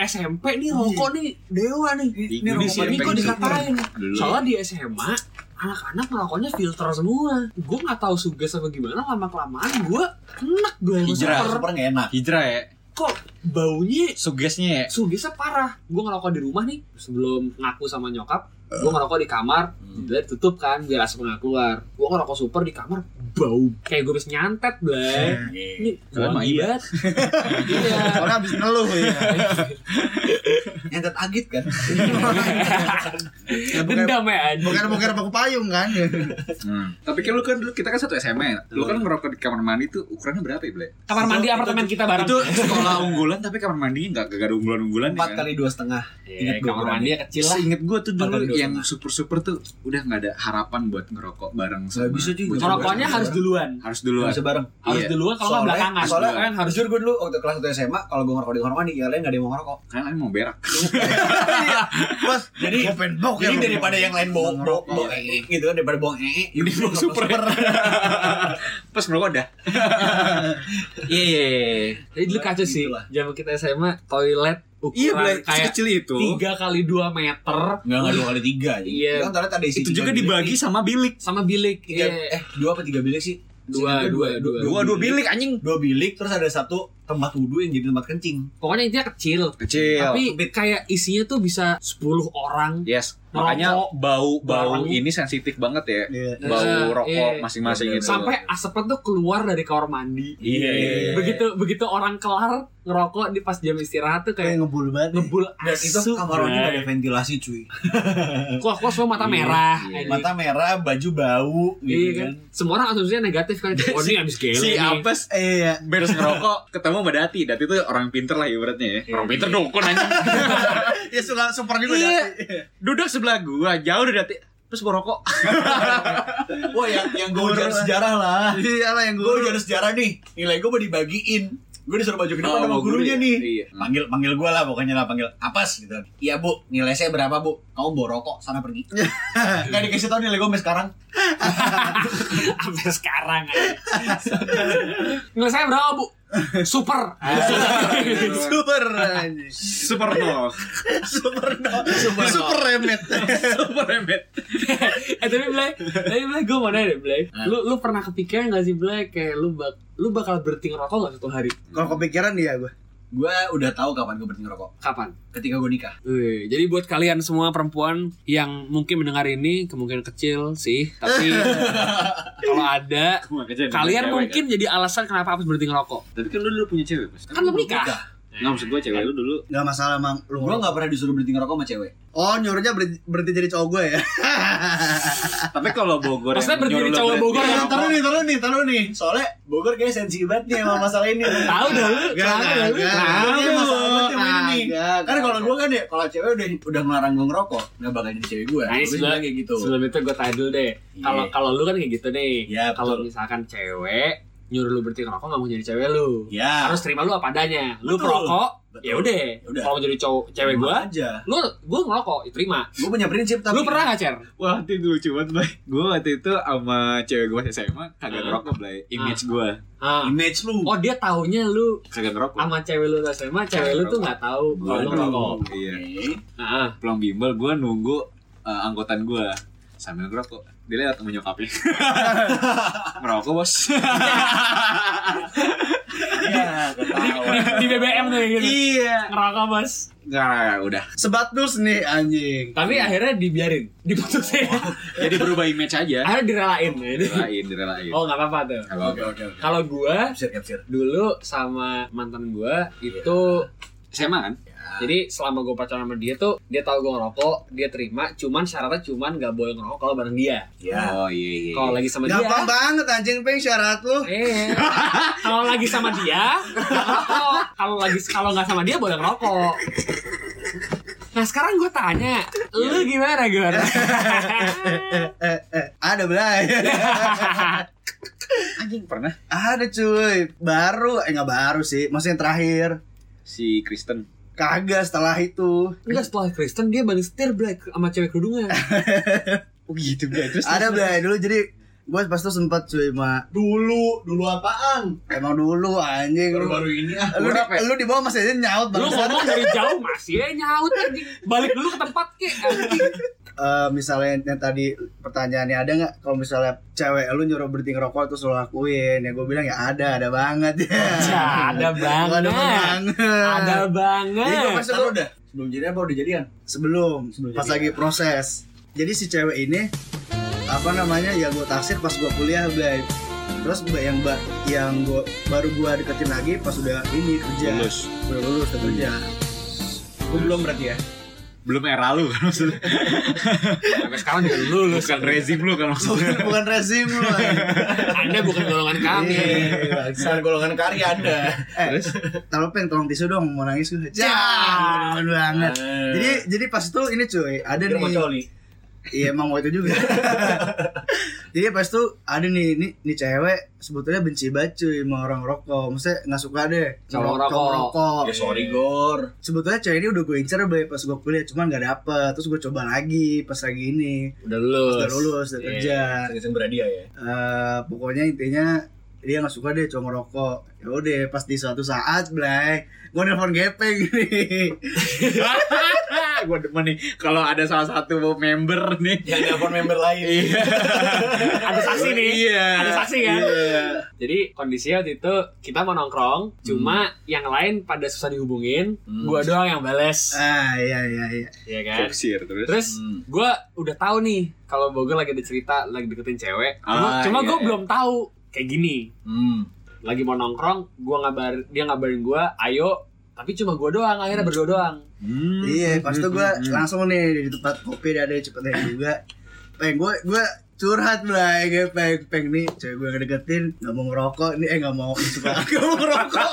S4: SMP nih rokok nih dewa nih.
S3: Ini
S4: Ini rokok ini gue dikatain.
S3: Dulu.
S4: Soalnya di SMA anak-anak ngerokoknya filter semua. Gue nggak tahu suges apa gimana lama kelamaan gue enak gue yang
S3: Hijrah.
S4: super.
S2: Super nggak enak.
S3: Hijrah ya.
S4: Kok baunya
S3: Sugesnya ya.
S4: sugesnya parah. Gue ngerokok di rumah nih sebelum ngaku sama nyokap. Gue ngerokok di kamar, jendela tutup kan biar asap nggak keluar. Gue ngerokok super di kamar, bau kayak gue habis nyantet, bleh. Ini
S3: Dalam
S4: wangi
S3: air.
S4: banget. Iya.
S1: Orang habis ngeluh ya.
S2: Entet agit kan.
S4: Dendam ya anjing.
S1: Bukan bukan paku payung kan?
S3: Tapi kan lu kan dulu kita kan satu SMA ya. Lu kan ngerokok di kamar mandi tuh ukurannya berapa ya, Ble?
S4: Kamar mandi apartemen kita bareng.
S3: Itu sekolah unggulan tapi kamar mandinya enggak ada unggulan-unggulan
S2: Empat kali dua setengah.
S4: Iya,
S2: Ingat gua
S4: kamar
S2: ukurannya.
S4: mandi kecil lah.
S3: Ingat gua tuh
S2: Empat kali
S3: dulu
S2: dua
S3: yang super super tuh udah nggak ada harapan buat ngerokok bareng sama
S2: bisa juga.
S3: bocah-bocah.
S4: Rokoknya harus duluan.
S3: harus duluan
S2: bisa bareng.
S4: Harus
S3: Iya.
S4: duluan kalau nggak
S2: Soalnya-
S4: belakangan.
S2: soalnya
S4: kan harus
S2: Jujur gue dulu waktu kelas 1 SMA kalau gue ngerokok di kamar mandi, ya lain gak ada yang mau ngerokok.
S3: karena lain mau berak
S1: Bos,
S2: Jadi
S1: gua pengen bokeh
S2: jadi
S1: lu.
S2: daripada yang lain bawa bawa
S1: Ngerokok.
S2: bawa ee gitu kan daripada bawa ee
S3: ini mau super pas merokok dah
S4: Iya, iya, iya. Jadi dulu kacau sih.
S2: Gitulah.
S4: Zaman kita SMA toilet
S3: iya
S4: ukuran
S3: berak
S4: kayak
S3: kecil itu
S4: tiga kali dua meter.
S2: Enggak enggak dua kali tiga aja.
S4: Iya.
S2: Kan ternyata ada isi
S3: itu
S2: tiga
S3: juga
S2: bilik
S3: dibagi
S2: nih.
S3: sama bilik
S4: sama bilik.
S2: tiga eh
S4: Iya.
S2: dua apa tiga bilik sih?
S4: Dua,
S2: Seingat
S4: dua,
S2: gua
S4: dua.
S3: dua dua bilik anjing
S2: Dua bilik terus ada satu tempat wudhu yang jadi tempat kencing.
S4: Pokoknya intinya kecil.
S3: kecil
S4: Tapi kayak isinya tuh bisa 10 orang.
S3: yes
S4: Merokok.
S3: makanya bau bau
S4: Bareng.
S3: ini sensitif banget ya
S1: Iya.
S4: Eh,
S3: bau
S4: iya.
S3: rokok masing-masing itu
S4: Sampai asapnya tuh keluar dari kamar mandi.
S3: Iya, iya, iya.
S4: Begitu begitu orang kelar ngerokok di pas jam istirahat tuh
S1: Kayak
S4: kayak
S1: ngebul banget. nih.
S4: ngebul
S2: Dan
S1: Iya,
S2: itu
S4: asu.
S2: kamar mandi gak ada ventilasi cuy.
S4: Kok kok semua mata merah.
S3: Iya.
S4: anjing.
S2: Mata merah, baju bau
S4: Iya
S2: gitu
S4: kan.
S2: kan.
S4: Semua orang asumsinya negatif kan. Oh ini habis gele
S3: si
S4: nih.
S3: apes
S1: Iya.
S3: beres ngerokok ketemu sama Dati Dati tuh orang pinter lah ibaratnya ya
S4: Iya,
S3: orang pinter dukun anjing
S1: Ya suka super juga
S3: Iya.
S1: Dati.
S3: duduk sebelah gua jauh dari Dati terus gua rokok
S2: Wah yang yang gue
S1: Guru
S2: ujar
S1: lah.
S2: sejarah lah.
S1: Iya lah yang
S2: Gue
S1: gue.
S2: ujar sejarah nih. Nilai gue mau dibagiin. Gue disuruh baju ke depan
S3: Oh,
S2: sama
S3: sama guru
S2: gurunya
S3: ya?
S2: nih.
S3: Iya.
S2: Panggil panggil gue lah pokoknya lah panggil apas gitu. Iya bu, nilai saya berapa bu? Kamu bawa rokok sana pergi. Gak dikasih tau nilai gue sampai sekarang.
S4: sampai sekarang anjing. nggak saya berapa bu super
S1: Super anjing.
S3: super nol
S1: Super dong. Super, super remet.
S3: super remet
S4: eh tapi Blay tapi Blay gue mau nanya deh Blay lu lu pernah kepikiran nggak sih Blay kayak lu bak lu bakal berhenti ngerokok nggak satu hari
S1: Kalau kepikiran
S2: iya
S1: dia gue.
S2: Gue udah tahu kapan gue berhenti ngerokok.
S4: kapan
S2: Ketika gue nikah.
S4: Wih, jadi buat kalian semua perempuan yang mungkin mendengar ini kemungkinan kecil sih tapi kalau ada kalian mungkin jadi alasan kenapa harus berhenti ngerokok
S3: tapi kan lu dulu punya cewek pas
S4: kan lu menikah
S3: nggak maksud gua
S4: Iya.
S3: cewek lu dulu
S1: Gak masalah mang. Lu
S2: Gue gak pernah disuruh berhenti ngerokok sama cewek.
S1: Oh nyuruhnya berhenti, berhenti jadi cowok gue ya.
S3: tapi kalau Bogor
S4: Maksudnya berdiri
S3: nyuruh lu
S4: cowok
S3: berhenti
S4: Bogor ya? yang
S2: Iya,
S3: ngerokok,
S2: taruh nih, taruh nih, taruh nih. Soalnya Bogor kayak sensi banget nih sama masalah ini.
S4: tahu dah lu
S1: Gak gak
S4: tahu dah
S1: gak.
S4: lu Nah,
S2: Ini masalah banget yang ini.
S1: Gak,
S2: Kan
S1: gak.
S2: kalau gue kan ya, kalau cewek udah udah ngelarang gue ngerokok, nggak bakal jadi cewek gue. Gue
S4: Nah, ini
S2: sih bilang
S4: sebenarnya-
S2: kayak gitu.
S4: Sebelum itu gue tanya dulu deh. Kalau kalau lu kan kayak gitu nih.
S2: Iya,
S4: kalau
S2: betul.
S4: misalkan cewek nyuruh lu berhenti ngerokok nggak mau jadi cewek lu.
S2: Ya,
S4: Harus terima lu apa adanya. Lu
S2: Betul.
S4: perokok,
S2: Betul.
S4: ya udah.
S2: Yaudah.
S4: Kalau mau jadi cowok cewek gua,
S2: aja.
S4: lu gua ngerokok, ya terima.
S2: Gue punya prinsip tapi.
S4: Lu pernah nggak cer?
S3: Wah, itu lucu banget, Blay. Gue waktu itu sama cewek gue SMA kagak ngerokok, Blay. Image gue
S4: Ah.
S2: Image lu.
S4: Oh dia taunya lu
S3: kagak ngerokok.
S4: sama cewek lu SMA, cewek lu tuh nggak tahu
S3: Gua
S4: kalau lu ngerokok.
S3: Iya.
S2: Oke.
S4: Ah, ah.
S3: Pulang bimbel gue nunggu eh, angkotan gue sambil ngerokok. Dia lihat sama nyokapnya. ngerokok, Bos.
S2: Iya, ketawa.
S4: di BBM tuh kayak gitu.
S3: iya.
S4: Ngerokok bos.
S3: Nah, udah.
S1: Sebat dus nih anjing.
S4: Tapi akhirnya dibiarin, diputusin.
S3: Jadi berubah image aja.
S4: akhirnya Oh. direlain.
S3: Direlain, direlain.
S4: Oh nggak apa-apa tuh.
S3: Nggak
S2: Oke,
S3: apa-apa.
S2: oke, oke.
S4: Kalau gua
S2: Capsir, capsir.
S4: dulu sama mantan gue itu
S3: SMA kan?
S4: jadi selama gue pacaran sama dia tuh dia tahu gue ngerokok dia terima cuman syaratnya cuman gak boleh ngerokok kalau bareng dia
S2: Ya.
S3: Oh, iya, iya.
S4: kalau lagi sama dia
S1: Gampang banget anjing peng syarat lu.
S4: eh kalau lagi sama dia nggak ngerokok kalau lagi kalau nggak sama dia boleh ngerokok nah sekarang gue tanya
S1: Iya.
S4: lu gimana gue
S1: Eh eh eh ada belai.
S3: anjing pernah
S1: ada cuy. Baru eh nggak baru sih. Maksudnya yang terakhir.
S3: si Kristen.
S1: Kagak setelah itu.
S4: Enggak setelah Kristen dia balik setir black sama cewek kerudungan
S3: Oh gitu, Blay. Terus
S1: Ada belai dulu jadi gue pas itu sempat cuy ma
S2: Dulu, dulu apaan?
S1: emang dulu anjing lu
S2: Baru-baru ini ah.
S1: lu, di- lu di bawah masih aja nyaut
S4: ya? lu
S1: banget
S4: ngomong dari jauh masih aja nyaut anjing balik dulu ke tempat ke anjing
S1: Eh, misalnya yang tadi pertanyaannya ada nggak kalau misalnya cewek lu nyuruh berhenti ngerokok terus lu lakuin ya gue bilang ya ada ada banget ya
S4: Ya, ada banget.
S1: ada banget
S4: ada
S1: Nah. jadi gue
S4: banget
S1: pas itu-
S2: Taruh udah. Sebelum jadian apa udah jadian?
S1: sebelum, pas lagi proses jadi si cewek ini apa namanya ya gue taksir pas gue kuliah Blay terus ba- yang ba- yang gua, baru gue deketin lagi pas udah ini kerja
S3: lulus.
S1: udah lulus udah kerja
S2: Gue belum berarti ya.
S3: Belum era lu kan maksudnya.
S4: Sampai sekarang juga lulus
S3: Bukan rezim lu kan maksudnya.
S1: bukan bukan rezim lu
S4: Anda bukan golongan kami.
S1: Iya.
S2: Bukan golongan karya anda.
S1: eh tolong peng tolong tisu dong mau nangis gue
S2: Eh,
S4: Ya.
S1: ya banget jadi jadi pas itu ini cuy ada
S2: Kira mau
S1: nih
S2: coli.
S1: Iya emang mau itu juga. Jadi pas tuh ada nih nih, nih cewek sebetulnya benci banget cuy sama orang rokok. Maksudnya nggak suka deh
S4: Sama orang
S1: cowok
S4: rokok.
S1: rokok.
S2: Ya sorry Gor.
S1: Sebetulnya cewek ini udah gue incer Bay, pas gue kuliah cuman nggak dapet. Terus gue coba lagi pas lagi ini.
S4: Udah
S1: Pas
S4: lulus.
S1: udah lulus udah
S2: Iya.
S1: kerja.
S2: Sang-sang beradia ya.
S1: Eh, pokoknya intinya dia nggak suka deh cowok ngerokok ya udah pas di suatu saat Blay gue nelfon gepeng nih
S3: gue demen nih kalau ada salah satu member nih.
S2: Yang telepon member lain.
S4: Ada saksi nih.
S3: Iya.
S4: Ada saksi kan? Jadi kondisinya waktu itu kita mau nongkrong,
S3: Hmm.
S4: cuma yang lain pada susah dihubungin,
S2: Hmm.
S4: gua doang yang bales.
S1: ah iya iya iya
S4: Iya kan?
S3: Fokusir Eh. terus.
S4: Terus
S2: Hmm.
S4: gua udah tahu nih kalau Bogor lagi ada cerita lagi deketin cewek. Cuma,
S3: Ah,
S4: cuma
S3: iya,
S4: gua
S3: iya.
S4: belum tahu kayak gini.
S2: Hmm.
S4: Lagi mau nongkrong, gua ngabar dia ngabarin gua, "Ayo." Tapi cuma gua doang, akhirnya berdua doang. Hmm,
S1: Iya, pas itu gue langsung nih di tempat kopi ada cepet deh juga. Peng gue gue curhat mulai gue peng peng nih cewek gue deketin nggak mau ngerokok nih eh nggak mau suka nggak mau ngerokok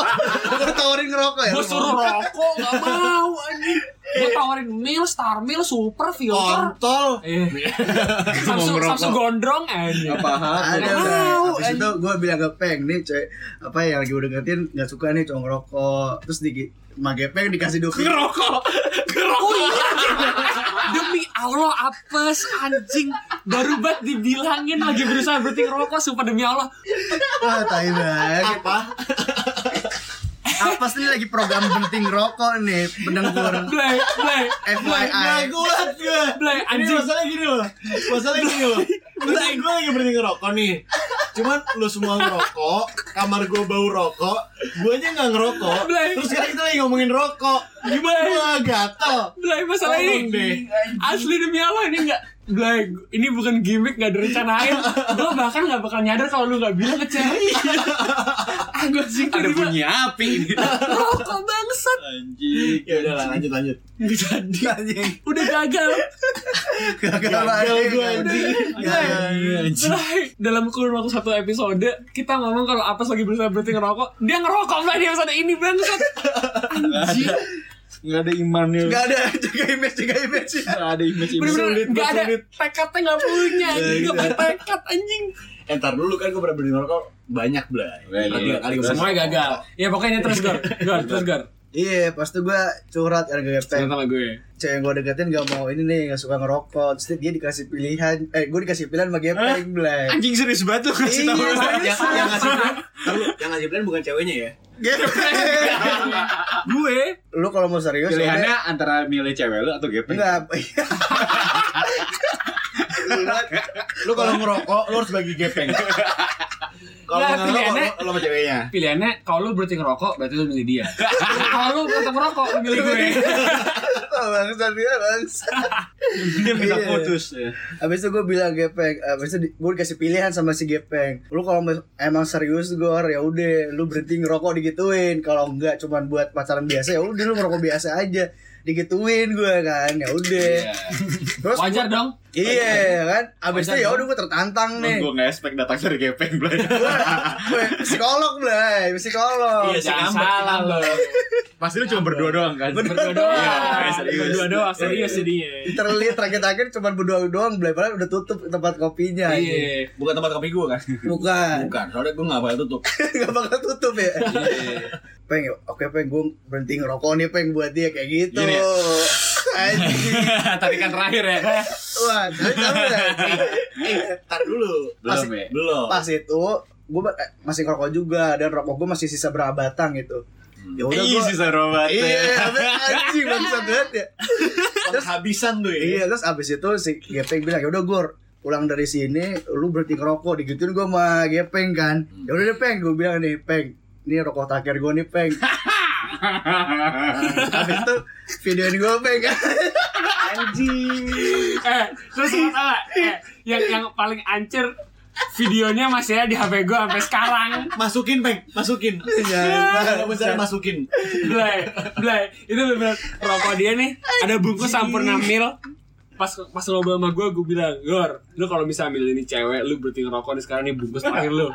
S1: gue tawarin ngerokok ya
S4: Gua
S1: lu
S4: suruh
S1: mau?
S4: rokok, gak mau anjing. Gua tawarin meal, star meal, super, filter.
S2: Kontol.
S4: Eh,
S3: Iya. Mau
S4: Samsung,
S3: ngerokok.
S4: Samsung gondrong anjing.
S3: Apa hal?
S1: ada
S4: Nggak
S1: udah
S4: mau,
S1: habis itu gue bilang ke peng nih cewek apa yang lagi gue deketin nggak suka nih cowok ngerokok terus di mage peng dikasih doki
S3: Ngerokok.
S4: Oh iya. Demi Allah apes anjing. Baru banget dibilangin lagi berusaha berhenti ngerokok sumpah demi Allah.
S1: wah tai banget apa apa sih ini lagi program penting rokok nih pendengkur
S4: Blay, blay,
S1: FYI
S2: kuat gue.
S4: blay
S2: Ini
S4: anjing.
S2: masalah gini loh. Masalah gini loh. Terus gue lagi berhenti ngerokok nih. Cuman lu semua ngerokok, kamar gue bau rokok, gue aja nggak ngerokok.
S4: Blay.
S2: Terus sekarang kita lagi ngomongin rokok.
S4: Gimana?
S2: Gue gatel.
S4: Blay masalah
S2: Tolong deh.
S4: ini. Asli demi Allah ini enggak Blay, ini bukan gimmick gak direncanain Gue bahkan gak bakal nyadar kalau lu gak bilang ke cewek Anjing
S3: Ada
S4: tiba-tiba
S3: bunyi api ini.
S4: Rokok bangsat
S2: Anjing. Ya udah lah, lanjut lanjut.
S4: Nggak jadi
S1: anjing
S4: Udah gagal
S1: gagal
S2: Gagal
S1: lagi
S2: gue anjing.
S4: Blay, dalam kurun waktu satu episode kita ngomong kalau apa lagi berusaha berhenti ngerokok, dia ngerokok Blay di episode ini bangsat. Anjing.
S3: Enggak ada imannya.
S1: Gak ada jaga image jaga image
S3: Nggak ada image
S4: Bener-bener nggak ada tekadnya nggak punya, anjing. nggak punya tekad anjing.
S2: Entar dulu kan gue pernah berhenti ngerokok banyak belai.
S3: Iya,
S2: Pernah
S3: iya.
S2: tiga kali gue
S4: Semuanya gagal. Ya pokoknya terus gar, gar terus gar.
S1: Iya, pas itu gue curhat karena gak
S4: Cerita
S1: peng
S4: sama gue.
S1: Cewek gue deketin gak mau ini nih, gak suka ngerokok Terus dia dikasih pilihan, eh gue dikasih pilihan sama gepeng Blay
S3: Anjing serius banget lu
S1: Iya,
S3: kasih tahu.
S2: Yang yang ngasih plan, Ntar lu, yang ngasih plan bukan ceweknya ya.
S1: Gepeng
S4: Gue
S1: Lu kalau mau serius iya,
S3: Pilihannya antara milih cewek lu atau
S1: udah-
S3: gepeng.
S1: Enggak
S2: Lu kalau ngerokok, lu harus bagi gepeng.
S3: Oh,
S2: Kalau
S4: Nah,
S2: mau ngerokok,
S4: pilihannya-
S2: lu lu sama ceweknya.
S4: pilihannya kalau lu berhenti ngerokok berarti lu milih dia. kalau lu berhenti ngerokok lu milih gue.
S1: Bangsa dia bangsa
S3: Dia minta
S1: Iya.
S3: putus ya.
S1: Abis itu gue bilang gepeng Abis itu gue dikasih pilihan sama si gepeng Lu kalau mes- emang serius Gor ya udah Lu berhenti ngerokok digituin Kalau enggak cuman buat pacaran biasa ya udah lu ngerokok biasa aja Digituin gue kan ya udah Terus
S4: Iya. Wajar dong.
S1: Iya kan, abis itu
S4: Wajar
S1: ya
S4: dong.
S1: udah gue tertantang nih.
S3: Gue nggak expect datang dari gepeng Blay.
S1: Gue psikolog blay, psikolog.
S2: Iya, si
S4: Jangan
S2: ngambek, si
S4: salah lu.
S3: Pasti lu cuma berdua doang kan.
S4: Berdua
S3: Iya,
S4: doang.
S3: serius.
S4: Berdua doang serius jadinya.
S1: Terlihat terakhir-terakhir cuma berdua doang blay, padahal udah tutup tempat kopinya.
S4: Iya.
S2: Bukan tempat kopi gue kan?
S1: Bukan,
S2: Bukan, soalnya gue gak bakal tutup
S1: nggak bakal tutup ya.
S3: Iya.
S1: Peng, oke peng, gue berhenti ngerokok nih peng buat dia kayak gitu.
S3: Gini ya?
S1: Anjing.
S4: Tarikan terakhir ya.
S1: Wah, tapi tahu nggak?
S2: Ntar dulu
S3: Belum
S1: Pasti-
S3: ya.
S2: Belum
S1: pas itu gue masih ngerokok juga dan rokok gue masih sisa berabatang gitu. Ya udah
S3: Iya
S1: gue.
S3: sih serobat.
S1: Iya, tapi anjing bangsat banget ya.
S2: Penghabisan tuh ya
S1: Iya, terus abis itu si Gepeng bilang, yaudah Gor, pulang dari sini lu berhenti ngerokok digituin gue sama Gepeng kan
S4: Hmm.
S1: ya udah deh Peng gue bilang nih Peng ini rokok terakhir gue nih Peng habis itu videoin gue Peng kan
S4: eh terus lu tau gak? eh, yang yang paling ancur videonya masih ada di HP gue sampai sekarang
S2: Masukin peng, masukin
S3: Iya,
S2: Iya, Kalau misalnya masukin
S4: blay blay itu bener rokok dia nih ada bungkus sampurna mil pas pas lo sama gue gue bilang gor lu kalau bisa ambil ini cewek lu berhenti ngerokok nih sekarang nih bungkus terakhir lu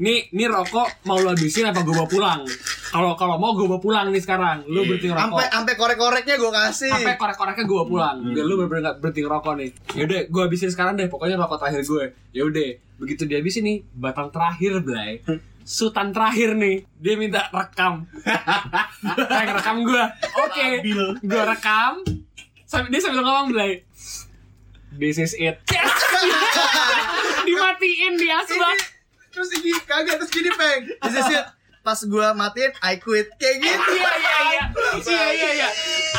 S4: nih nih rokok mau lu habisin apa gue bawa pulang Kalau kalau mau gue bawa pulang nih sekarang. Lu berhenti ngerokok.
S1: Sampai sampai korek-koreknya gue kasih.
S4: Sampai korek-koreknya gue bawa pulang. Biar lu bener-bener nggak berhenti ngerokok nih. Yaudah, gue habisin sekarang deh. Pokoknya rokok terakhir gue. Yaudah, begitu dia habisin nih, batang terakhir, Blay. Sultan terakhir nih, dia minta rekam. Kayak rekam gue. Oke, gue rekam. Sambil, dia sambil ngomong, Blay. This is it. Dimatiin dia sebelah.
S1: terus ini kagak terus gini peng terus sisi pas gua matiin I quit kayak gitu
S4: Iya iya iya. Iya iya iya.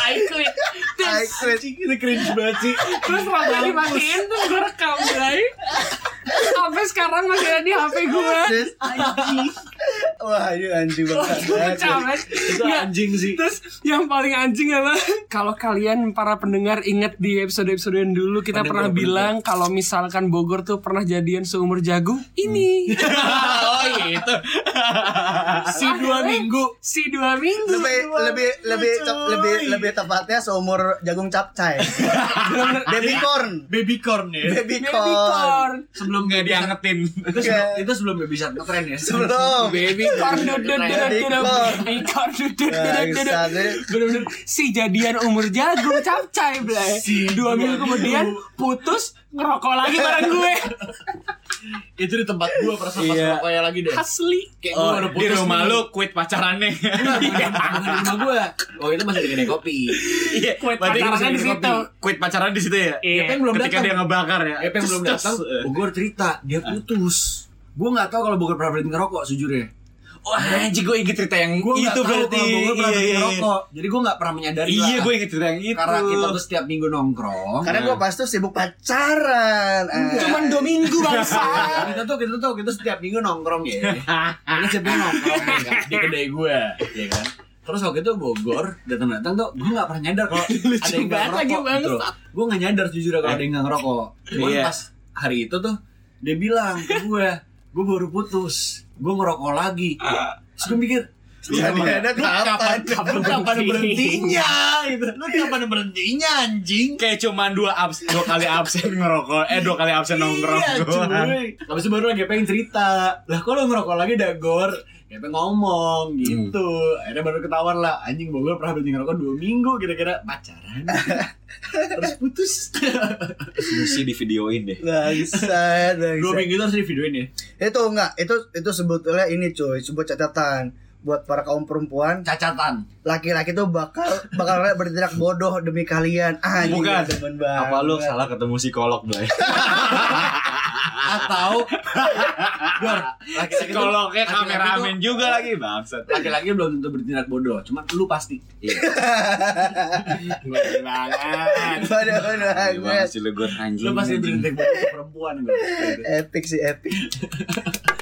S4: I quit.
S1: I
S4: Terus
S1: quit
S2: Ini cringe banget sih.
S4: terus rokok dimatiin terus gue rekam Blay. Sampai sekarang masih ada di HP gue.
S1: terus wah ini anjing banget Nah,
S4: Capek.
S2: Itu
S3: Iya.
S4: Nggak.
S2: anjing sih.
S4: Ya, Terus yang paling anjing adalah kalau kalian para pendengar ingat di episode-episode yang dulu kita pernah bilang kalau misalkan Bogor tuh pernah jadian seumur jagung ini.
S3: Oh gitu.
S4: si dua minggu, si dua minggu.
S1: lebih lebih lebih cep- lebih lebih tepatnya seumur jagung capcay baby corn
S2: Baby corn ya.
S1: baby
S4: Baby
S1: corn
S4: corn,
S3: Sebelum nggak diangetin. Oh,
S2: Itu sebelum, itu sebelum baby shark ngetren ya.
S1: sebelum
S4: baby corn, duduk,
S3: Nah,
S4: duduk,
S1: Baby
S4: duduk.
S1: corn.
S4: baby corn, duduk,
S1: Nah,
S4: duduk, duduk.
S1: jadi-
S4: Bener-bener si jadian umur jagung capcay blay. dua minggu kemudian putus ngerokok lagi bareng gue
S2: Itu di tempat gua perasaan pas
S5: Iya.
S2: rokoknya lagi deh.
S4: asli.
S2: Kayak gua
S3: Oh,
S2: udah
S3: di
S2: putus
S3: rumah
S2: nih. Iya.
S3: lu quit pacarannya.
S2: Di rumah gua. Oh, itu masih di kedai kopi.
S3: Iya,
S4: Quit
S3: berarti
S4: pacarannya
S3: masih
S4: di
S3: minum
S4: situ.
S3: kopi. Quit pacaran di situ ya.
S4: Iya.
S2: Tapi belum
S3: Ketika
S2: datang.
S3: dia ngebakar ya.
S2: Epeng belum
S3: Terus,
S2: datang,
S3: terus, eh.
S2: Bogor cerita, dia putus. Gue gak tahu kalau Bogor pernah berhenti ngerokok sejujurnya.
S3: Wah, anjing gue inget cerita yang
S2: Gue gak
S3: itu
S2: tahu kalau
S3: berarti.
S2: Bogor pernah
S3: Iya,
S2: berhenti
S3: iya, iya.
S2: ngerokok. Jadi gue gak pernah menyadari
S3: Iya,
S2: lah.
S3: gue inget cerita yang itu.
S2: Karena kita tuh setiap minggu nongkrong.
S1: karena gua pas itu sibuk pacaran Ah.
S4: Cuman dua minggu bangsa.
S2: kita tuh kita tuh kita setiap minggu nongkrong ya. Kita setiap minggu nongkrong ya kan? di kedai gue, ya kan. Terus waktu itu Bogor datang-datang tuh gue gak pernah nyadar kalau ada yang gak
S4: banget lagi,
S2: ngerokok gitu loh. Gue gak nyadar jujur kalau ada yang gak ngerokok. Cuman
S3: Iya.
S2: pas hari itu tuh dia bilang ke gue, gue baru putus, gue ngerokok lagi.
S3: Ah.
S2: Terus gue mikir,
S1: jadi ada kapan
S2: kapan kapan berhentinya gitu. Lu kapan berhentinya anjing?
S3: Kayak cuman dua abs dua kali absen ngerokok, eh dua kali absen nongkrong
S2: Iya,
S3: doang.
S2: cuy. Habis itu baru lagi pengen cerita. Lah kok lo ngerokok lagi Dagor? Gepeng ngomong gitu. Akhirnya baru ketahuan lah anjing Bogor pernah berhenti ngerokok 2 minggu kira-kira pacaran. Terus putus.
S3: Mesti di videoin deh.
S1: Bangsat, bangsat.
S2: 2 minggu itu harus di videoin ya.
S1: itu enggak itu itu sebetulnya ini cuy sebuah catatan buat para kaum perempuan
S2: Cacatan.
S1: laki-laki tuh bakal bakal bertindak bodoh demi kalian ah
S3: Bukan.
S1: temen banget
S3: Apa lu salah ketemu psikolog, Blay?
S2: Atau Gor, laki-laki tuh-
S3: Psikolognya
S2: laki-laki
S3: kameramen juga lagi, bangsat.
S2: tuh- Laki-laki belum tentu bertindak bodoh, cuman lu pasti.
S3: Gede banget.
S1: Waduh, waduh,
S3: Gede banget
S1: banget.
S3: sih lu gue anjing.
S2: Lu pasti
S3: anjing.
S2: bertindak bodoh perempuan Gor.
S1: epic sih epic